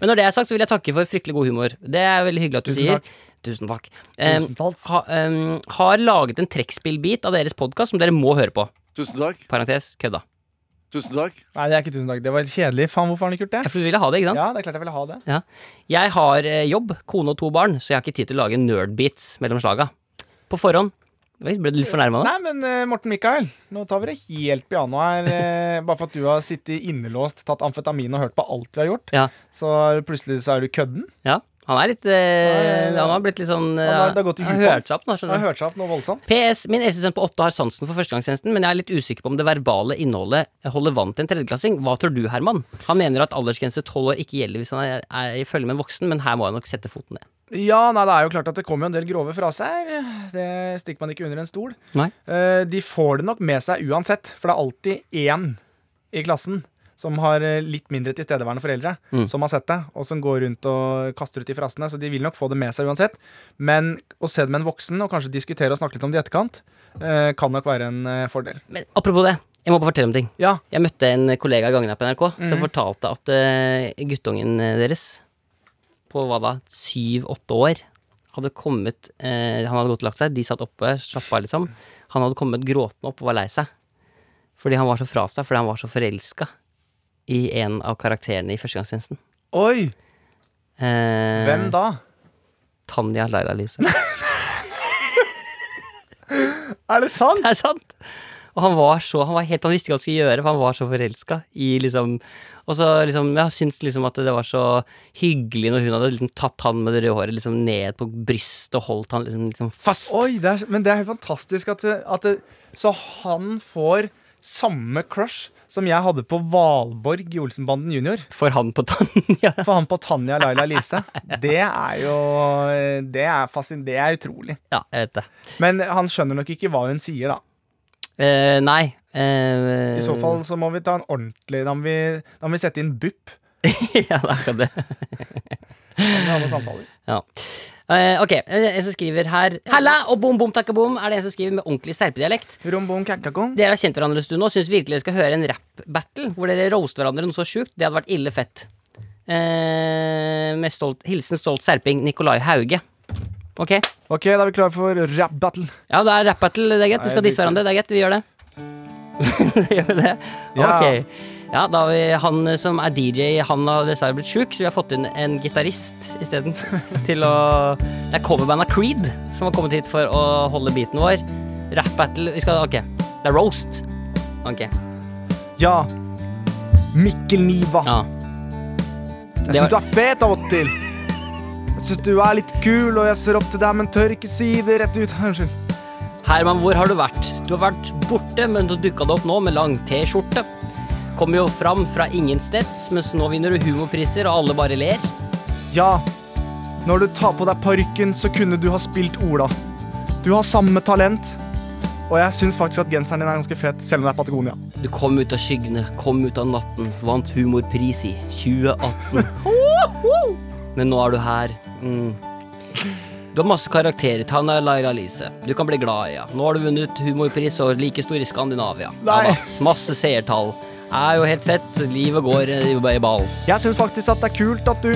D: Men når det er sagt, så vil jeg takke for fryktelig god humor. Det er veldig hyggelig at du
C: Tusen
D: sier.
C: takk.
D: Tusen takk. Em,
C: Tusen takk.
D: ha, em, har laget en trekkspillbit av deres podkast som dere må høre på.
G: Tusen takk.
D: Parentes kødda.
G: Tusen takk.
C: Nei, det er ikke tusen takk. Det var kjedelig. Faen, hvorfor har han ikke gjort
D: Ja,
C: det?
D: For du ville ha det, ikke sant?
C: Ja, det er klart jeg ville ha det.
D: Ja. Jeg har eh, jobb, kone og to barn, så jeg har ikke tid til å lage nerdbeats mellom slaga. På forhånd. Oi, Ble du litt fornærma nå?
C: Nei, men eh, Morten Mikael, nå tar vi det helt piano her. eh, bare for at du har sittet innelåst, tatt amfetamin og hørt på alt vi har gjort,
D: Ja.
C: så plutselig så er du kødden.
D: ja. Han er litt eh, Han har blitt litt sånn eh,
C: Han har- det har gått i
D: Han har
C: huet på han.
D: hørt seg opp nå,
C: Jeg
D: skjønner
C: har
D: du.
C: hørt seg opp noe voldsomt.
D: PS. Min eldste sønn på åtte har sansen for førstegangstjenesten, men jeg er litt usikker på om det verbale innholdet holder vann til en tredjeklassing. Hva tror du, Herman? Han mener at aldersgrense tolv år ikke gjelder hvis han er, er i følge med en voksen, men her må jeg nok sette foten ned.
C: Ja, nei, det er jo klart at det kommer jo en del grove fraser. Det stikker man ikke under en stol.
D: Nei?
C: Eh, de får det nok med seg uansett, for det er alltid én i klassen som har eh, litt mindre tilstedeværende foreldre, som har sett det, og som går rundt og kaster ut de frasene. Så de vil nok få det med seg uansett. Men å se det med en voksen, og kanskje diskutere og snakke litt om det i etterkant, eh, kan nok være en eh, fordel.
D: Men apropos det, jeg må bare fortelle om ting.
C: Ja. Mhm.
D: Jeg møtte en kollega i gangen her på NRK som fortalte at eh, guttungen deres på hva da, syv-åtte år hadde kommet eh, Han hadde gått og lagt seg, de satt oppe, slappa av, liksom. Han hadde kommet gråtende opp og var lei seg. Fordi han var så fra seg, fordi han var så forelska i en av karakterene i Førstegangstjenesten.
C: Oi!
D: Eh,
C: Hvem da?
D: Tanja Laila Lise.
C: Er det sant?
D: Det er sant! Og han var så, han var helt, han visste ikke hva han skulle gjøre, for han var så forelska i liksom Og så liksom, jeg syntes liksom at det var så hyggelig når hun hadde liksom tatt han med det røde håret liksom ned på brystet og holdt han liksom, liksom fast.
C: Oi, det er, men det er helt fantastisk at, det- at det, Så han får samme crush som jeg hadde på Valborg i Olsenbanden junior.
D: For han på Tanja.
C: For han på Tanja Laila Lise. Det er jo Det er, fascin- det er utrolig.
D: Ja, jeg vet det.
C: Men han skjønner nok ikke hva hun sier, da.
D: Eh, nei. eh,
C: I så fall så må vi ta en ordentlig Da må vi, da må vi sette inn BUP.
D: Ja, det er akkurat det.
C: når vi har noen samtaler.
D: Ja. Eh, ok, en som skriver her Halla og bom, bom, takke, bom, er det en som skriver med ordentlig serpedialekt.
C: Rom, bom, kakkakong.
D: Dere har kjent hverandre en stund nå og syns virkelig dere skal høre en rap-battle hvor dere roaster hverandre noe så sjukt. Det hadde vært ille fett. Eh, med stolt, hilsen stolt serping Nikolai Hauge. Ok.
C: Ok, da er vi klare for rap battle.
D: Ja, det er rap-battle. Det er greit.
C: Nei,
D: Vi skal disse
C: jeg
D: hverandre.
C: bruker-
D: Det er greit. Vi gjør det. gjør vi det?
C: Ja.
D: Ok. Ja, da har vi han som er DJ, han har dessverre blitt sjuk, så vi har fått inn en gitarist isteden. til å Det er coverbandet Creed som har kommet hit for å holde beaten vår. Rap-battle Vi skal Ok. Det er roast. Ok.
C: Ja. Mikkel Niva.
D: Ja.
C: Jeg syns du er fet av og til. Jeg syns du er litt kul, og jeg ser opp til deg, men tør ikke si det rett ut. Unnskyld.
D: Herman, hvor har du vært? Du har vært borte, men du dukka det opp nå med lang T-skjorte. Kommer jo fram fra ingensteds, mens nå vinner du humorpriser, og alle bare ler.
C: Ja, når du tar på deg parykken, så kunne du ha spilt Ola. Du har samme talent, og jeg syns faktisk at genseren din er ganske fet, selv om det er Patagonia.
D: Du kom ut av skyggene, kom ut av natten, vant humorpris i 2018. Men nå er du her. Mm. Du har masse karakterer. Tanja Laila Lise. Du kan bli glad i ja. Nå har du vunnet humorpris og like stor i Skandinavia. Ja
C: Nei.
D: da, masse seertall. Er jo helt fett. Livet går i i ball.
C: Jeg syns faktisk at det er kult at du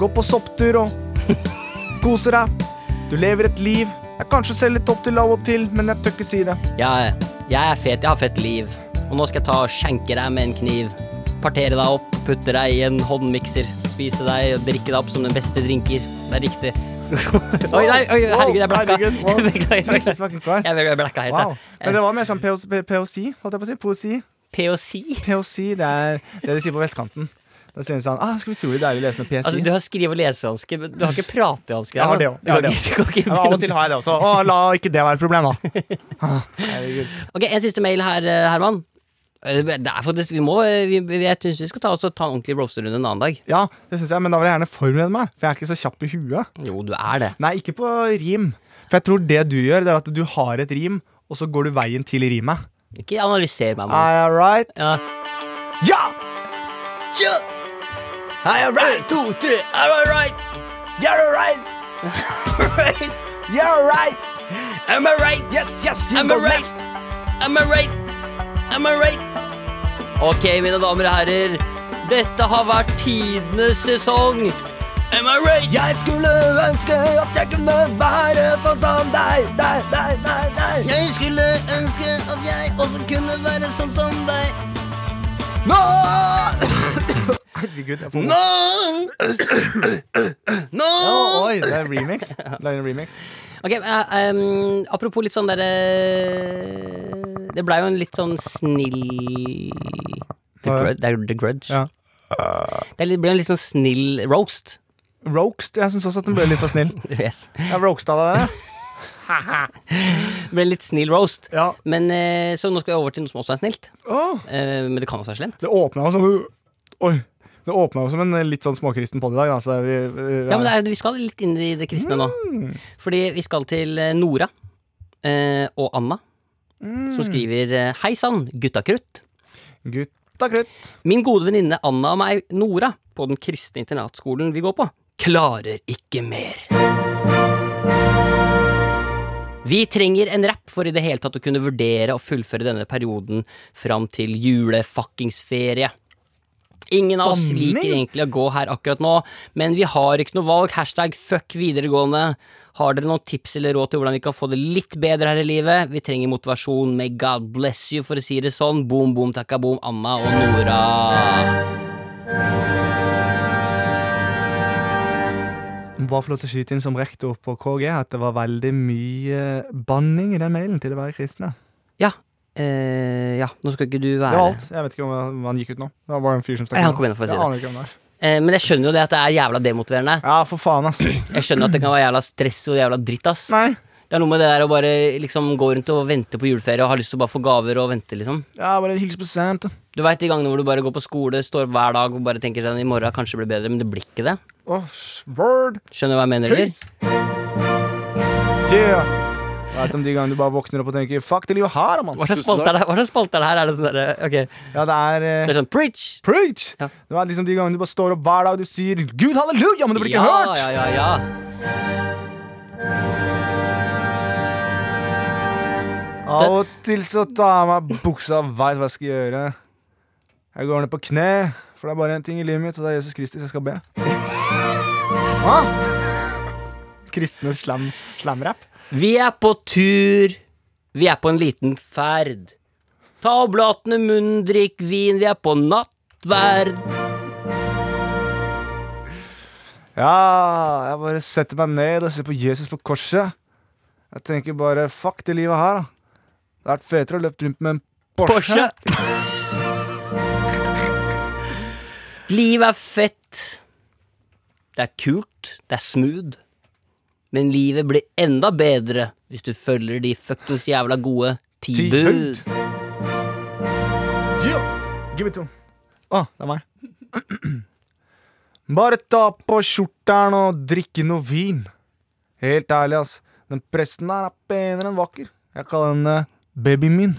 C: går på sopptur og koser deg. Du lever et liv. Jeg kanskje ser litt opp til av og til, men jeg tør ikke si det.
D: Jeg, jeg er fet, jeg har fett liv. Og nå skal jeg ta og skjenke deg med en kniv. Partere deg opp, putte deg i en håndmikser. Spise deg og drikke deg opp som den beste drinker. Det er riktig. oi, nei, oi, herregud, jeg blacka.
C: Herregud, wow.
D: Beklager,
C: Jesus
D: beklager.
C: fucking Christ.
D: Jeg jeg blacka helt.
C: Wow.
D: jeg.
C: Men det var mer sånn POC, holdt jeg på å si. Poesi.
D: POC?
C: POC, det er det de sier på vestkanten. Da synes han ah, skal vi utrolig deilig å lese noe poesi.
D: Altså, du har skrive- og lesehansker, men du har ikke pratehansker.
C: Jeg har det
D: da.
C: også,
D: Du
C: jeg har
D: kan
C: det
D: ikke- du kan ikke
C: ja, av og til har jeg det også. Å, la ikke det være et problem, da.
D: Ok, En siste mail her, eh, Herman. Eh, Det er faktisk, vi må, eh, vi, vi- jeg synes vi skal ta, oss og ta en ordentlig roasterrunde en annen dag.
C: Ja, det synes jeg, men da vil jeg gjerne forberede meg, for jeg er ikke så kjapp i huet.
D: Jo, du er det.
C: Nei, ikke på rim. For jeg tror det du gjør, det er at du har et rim, og så går du veien til rimet.
D: Ikke analyser meg. Man.
C: I right?
D: Ja.
C: Ja!
D: Hei, alright, to, tre, alright. You're alright. You're right. Am I right? Yes, yes, Am I right? Am I right? Am I right? Ok, mine damer og herrer. Dette har vært tidenes sesong. Am I right?
C: Jeg skulle ønske at jeg kunne være sånn som deg, deg, deg, deg, deg.
H: Jeg skulle ønske at jeg også kunne være sånn som deg.
C: Nå! Herregud, jeg får
H: Nå!
C: Å, Oi, det er en remix. Lager en remix.
D: Ok, eh, em, Apropos litt sånn derre Det blei jo en litt sånn snill The,
C: Hva?
D: grud, det er The Grudge.
C: Ja.
D: Det er litt- ble en litt sånn snill roast.
C: Roast. Jeg syns også at den ble litt for snill.
D: Yes.
C: Jeg roasta deg der.
D: Det ble en litt snill roast.
C: Ja.
D: Men eh, Så nå skal vi over til noe som også er snilt.
C: Å,
D: Eh, men det kan også være slemt.
C: det åpna jo som Oi. Det åpna jo som en litt sånn småkristen podd i dag. da, så det er vi, vi,
D: Ja, men det er, Vi skal litt inn i det kristne nå.
C: Mm.
D: Fordi vi skal til eh, Nora eh, og Anna,
C: Mm.
D: som skriver eh, Hei sann, gutta krutt.
C: Gutta krutt.
D: Min gode venninne Anna og meg, Nora, på den kristne internatskolen vi går på, klarer ikke mer. Vi trenger en rapp for i det hele tatt å kunne vurdere å fullføre denne perioden fram til julefuckingsferie. Ingen av oss
C: Danning?
D: liker egentlig å gå her akkurat nå, men vi har ikke noe valg. Hashtag fuck videregående. Har dere noen tips eller råd til hvordan vi kan få det litt bedre her i livet? Vi trenger motivasjon. May God bless you, for å si det sånn. Boom, boom, takka boom, Anna og Nora.
C: Må bare få lov til å skyte inn som rektor på KG at det var veldig mye banning i den mailen til å være kristne.
D: Ja. Eh, ja, nå skal ikke du
C: Det
D: være
C: var alt. Jeg vet ikke om han- om han gikk ut nå. Det var bare en fyr som stakk
D: Nei, han kom inn for å si
C: Jeg
D: det.
C: aner ikke hvem det er.
D: eh, Men jeg skjønner jo det at det er jævla demotiverende.
C: Ja, for faen, ass.
D: Jeg skjønner at det kan være jævla stress og jævla dritt, ass.
C: Nei.
D: Det er noe med det der å bare liksom gå rundt og vente på juleferie og ha lyst til å bare få gaver og vente, liksom.
C: Ja, bare hils på Santa.
D: Du veit de gangene hvor du bare går på skole, står hver dag og bare tenker sånn I morgen kanskje det blir bedre, men det blir ikke det.
C: Åh, word.
D: Skjønner du hva jeg mener, eller?
C: Yeah. Jeg vet om de gangene du bare våkner opp og tenker Fuck det livet her, da, mann.
D: Hva slags spalte er det her? Hva slags spalte er det her? Er det sånn derre Ok.
C: Ja, det er
D: Det
C: eh,
D: er sånn preach!
C: Preach!
D: Ja.
C: Det er liksom de gangene du bare står opp hver dag og du sier Gud halleluja, men det blir ikke
D: ja,
C: hørt!
D: Ja, ja, ja.
C: Av og til så tar jeg av meg buksa og veit hva jeg skal gjøre. Jeg går ned på kne, for det er bare én ting i livet mitt, og det er Jesus Kristus jeg skal be. Hva? Kristnes slam, slamrap?
D: Vi er på tur. Vi er på en liten ferd. Ta oblatene, munnen, drikk vin. Vi er på nattverd.
C: Ja, jeg bare setter meg ned og ser på Jesus på korset. Jeg tenker bare fuck det livet her, da. Det har vært fetere å løpe rundt med en Porsche.
D: Porsche. Livet er fett. Det er kult. Det er smooth. Men livet blir enda bedre hvis du følger de fuckings jævla gode ti
C: Ti
D: bud.
C: bud. Yeah. Give it to him. Å, det er meg. Bare ta på skjorteren og drikke noe vin. Helt ærlig, ass. Den presten der er penere enn vakker. Jeg kaller henne babyen min.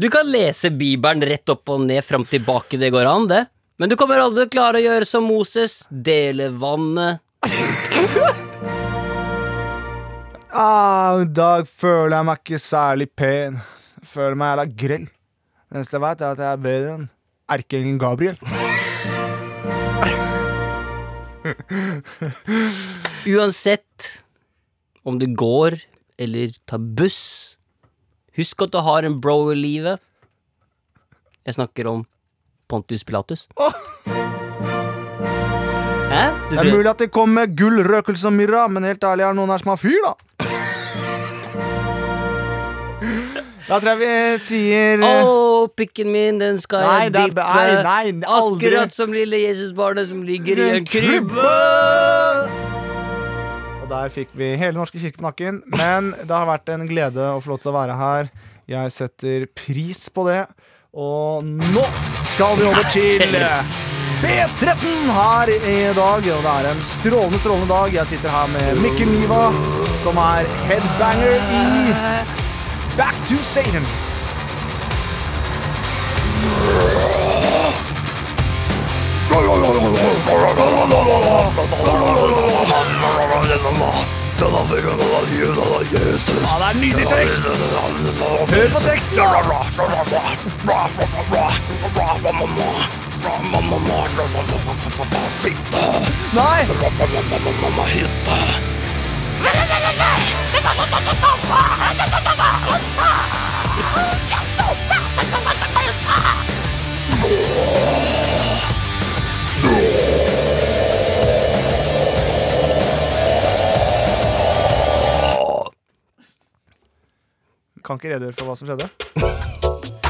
D: Du kan lese Bibelen rett opp og ned fram tilbake, det går an, det. Men du kommer aldri til å klare å gjøre som Moses, dele vannet.
C: Ah, I dag føler jeg meg ikke særlig pen. Jeg føler meg jævla grell. Det eneste jeg veit, er at jeg er bedre enn erkeengelen Gabriel.
D: Uansett om du går eller tar buss, husk at du har en bro i livet. Jeg snakker om Pontus Pilatus. Hæ? Du
C: Det er
D: tror,
C: mulig at det kommer gull, røkelse og myrra, men helt ærlig, er det noen her som har fyr, da? Da tror jeg vi sier
D: Å,
C: eh,
D: pikken min, den skal
C: Nei,
D: jeg
C: det er-
D: dippe.
C: nei, nei, aldri.
D: Akkurat som lille Jesusbarnet som ligger i en krybbe.
C: Og der fikk vi hele Norske kirke på nakken. Men det har vært en glede å få lov til å være her. Jeg setter pris på det. Og nå skal vi over til B13 her i dag. Og det er en strålende, strålende dag. Jeg sitter her med Mikkel Niva, som er headbanger i Back to Satan. Ja, det er nydelig tekst! Hør på teksten, da! Nei! Kan ikke redegjøre for hva som skjedde.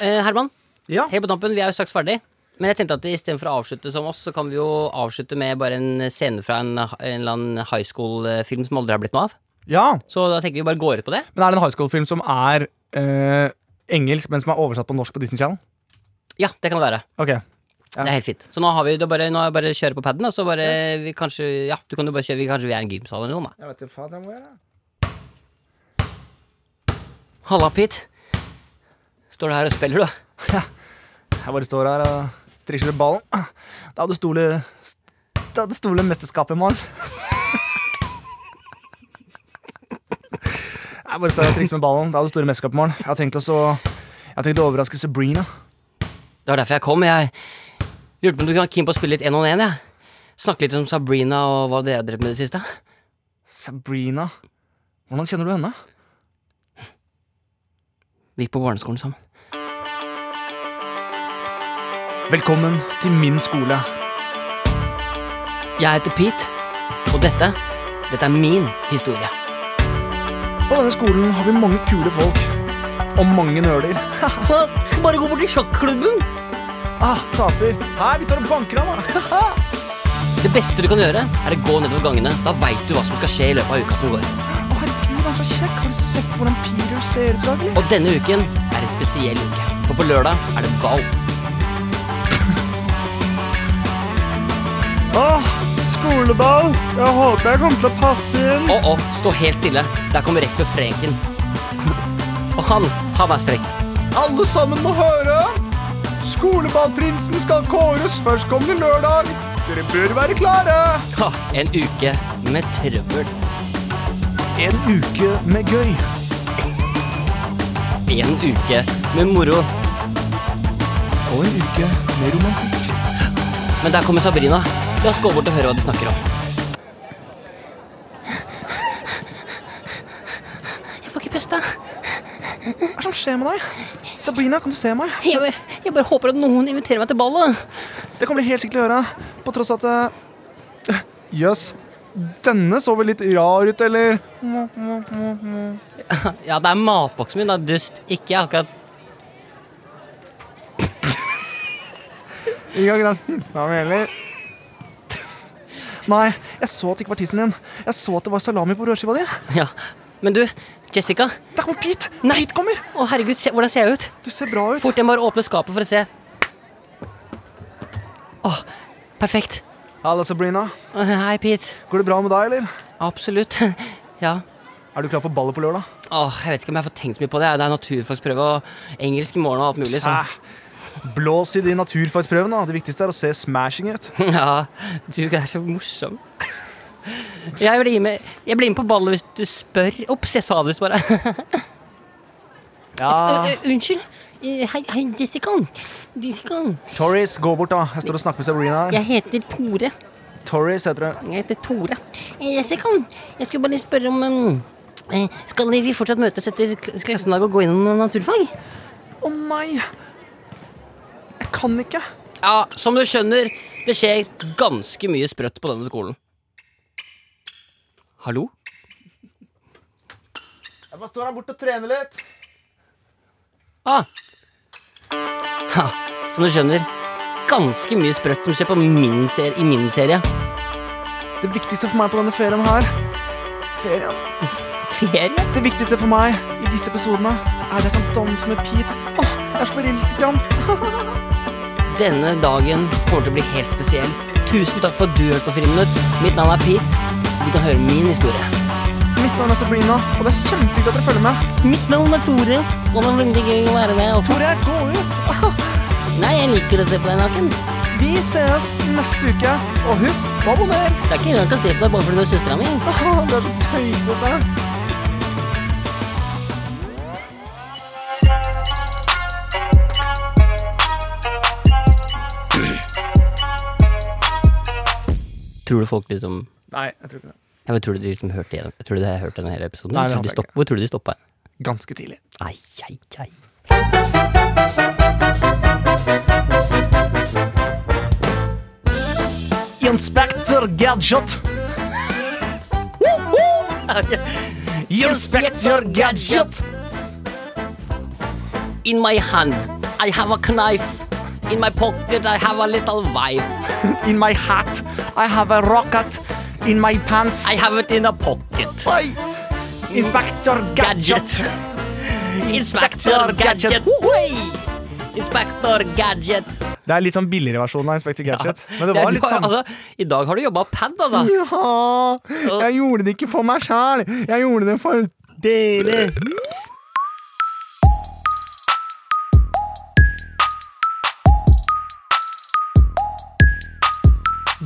D: Eh, Herman,
C: Ja.
D: helt på tampen, vi er jo straks ferdig. Men jeg tenkte at istedenfor å avslutte som oss, så kan vi jo avslutte med bare en scene fra en, en eller annen high school-film som aldri har blitt noe av.
C: ja.
D: Så da tenker vi bare går ut på det.
C: Men er det en high school-film som er eh, engelsk, men som er oversatt på norsk på Disney Channel?
D: Ja, det kan det være.
C: Ok, Ja.
D: Det er helt fint. Så nå har vi det bare, nå er det bare å kjøre på paden, og så bare vi kanskje Ja, du kan jo bare kjøre, vi kanskje vi er i en gymsal eller noe, da.
C: Jeg vet ikke, faen, hvor er det?
D: Halla, Pete. Står du her og spiller, du?
C: Jeg bare står her og trikser ut ballen. Da hadde stole, da hadde stole mesterskapet i morgen. Jeg bare står her og trikser med ballen. Da hadde store mesterskap i morgen. Jeg har tenkt også jeg har tenkt å overraske Sabrina.
D: Det var derfor jeg kom. Jeg lurte på om du kunne ha keen på å spille litt én og én, jeg. Snakke litt om Sabrina og hva dere har drevet med i det siste.
C: Sabrina? Hvordan kjenner du henne?
D: Vi gikk på barneskolen sammen.
C: Velkommen til min skole.
D: Jeg heter Pete, og dette, dette er min historie.
C: På denne skolen har vi mange kule folk. Og mange nøler.
D: Skal bare gå bort til sjakklubben.
C: Ah, taper. Hei, vi tar og banker han, da.
D: Det beste du kan gjøre, er å gå nedover gangene. Da veit du hva som skal skje i løpet av uka som går.
C: Å, herregud, han er så kjekk. Har du sett hvordan Peter ser ut i dag, eller?
D: Og denne uken er en spesiell uke, for på lørdag er det ball.
C: Åh, Ah, skoleball. Jeg håper jeg kommer til å passe inn.
D: Å, å, stå helt stille. Der kommer rektor Frenken. Og han, han er streng.
C: Alle sammen må høre. Skoleballprinsen skal kåres førstkommende lørdag. Dere bør være klare.
D: Ha, en uke med trøbbel.
C: En uke med gøy.
D: En uke med moro.
C: Og en uke med romantikk.
D: Men der kommer Sabrina. La oss gå bort og høre hva de snakker om.
F: Jeg får ikke puste.
C: Hva er det som skjer med deg? Sabrina, kan du se meg?
D: Jeg, jeg bare håper at noen inviterer meg til ballet.
C: Det kommer de helt sikkert til å gjøre, på tross at eh, Jøss, denne så vel litt rar ut, eller?
D: Ja, det er matboksen min, da, dust. Ikke akkurat
C: Ikke akkurat hinta meg heller. Nei, jeg så at det ikke var tissen din. Jeg så at det var salami på rødskiva di.
D: Ja. Men du, Jessica.
C: Der kommer Pete!
D: Nei.
C: Pete kommer!
D: Å, herregud, se, hvordan ser jeg ut?
C: Du ser bra ut.
D: Fort, jeg må bare åpne skapet for å se. Å, perfekt.
C: Halla, Sabrina.
D: Å, Hei, Pete.
C: Går det bra med deg, eller?
D: Absolutt. Ja.
C: Er du klar for ballet på lørdag?
D: Åh, jeg vet ikke om jeg får tenkt så mye på det. Det er naturfagsprøve og engelsk i morgen og alt mulig. Så.
C: Hæ? Blås i de naturfagsprøvene. da. Det viktigste er å se smashing ut.
D: Ja, du er så morsom. Jeg blir med, jeg blir med på ballet hvis du spør. Ops, jeg sa det visst bare.
C: Ja.
D: Ø, ø, Unnskyld. Eh, Hei, hei, Jessica. Jessica.
C: Torris, gå bort, da. Jeg står og snakker med Sabrina her.
D: Jeg heter Tore.
C: Torris heter det.
D: Jeg heter Tore. Eh, Jessica, jeg skulle bare spørre om um, eh, Skal vi fortsatt møtes etter kl- klassen i dag og gå innom naturfag?
C: Å nei! Jeg kan ikke.
D: Ja, som du skjønner, det skjer ganske mye sprøtt på denne skolen. Hallo?
C: Jeg bare står her borte og trener litt.
D: Ah. Ha, som du skjønner, ganske mye sprøtt som skjer på min serie, i min serie.
C: Det viktigste for meg på denne ferien her Ferien
D: Ferie?
C: Det viktigste for meg i disse episodene er at jeg kan danse med Pete. Åh, jeg er så forelsket i han.
D: Denne dagen kommer til å bli helt spesiell. Tusen takk for at du hørte på Friminutt. Mitt navn er Pete. Du kan høre min historie.
C: Mitt navn er Sabrina, og det er kjempehyggelig at dere følger med.
D: Mitt navn er Tore, og det er veldig gøy å være med. Også.
C: Hvor jeg går ut. Åh,
D: Nei, jeg liker å se på deg naken.
C: Vi sees neste uke, og husk, abonner.
D: Det er ikke rart å se på deg bare fordi du er søstera mi.
C: Åh, det er så tøysete.
D: Tror du folk liksom
C: Nei, jeg tror ikke det.
D: Jeg vet, tror du de liksom hørte gjennom Jeg tror du de har hørt denne hele episoden?
C: Nei, det
D: tror du de
C: håper jeg
D: stopp, hvor tror du de stoppa?
C: Ganske tidlig.
D: Ai, ai, ai.
C: Inspektør Gadget.
D: Inspector Gadget. In my hand, I have a knife. In my pocket, I have a little wife.
C: In my hat. I have a rocket. In my pants.
D: I have it in a pocket.
C: Oi. Inspektør
D: Gadget. Inspector Gadget. Oi! Inspector Gadget.
C: Det er litt sånn billigere versjon av Inspektør Gadget. Men det
D: Ja,
C: var
D: du
C: litt
D: har-
C: samme.
D: altså, I dag har du jobba pad, altså.
C: Ja, jeg gjorde det ikke for meg sjæl. Jeg gjorde det for dere.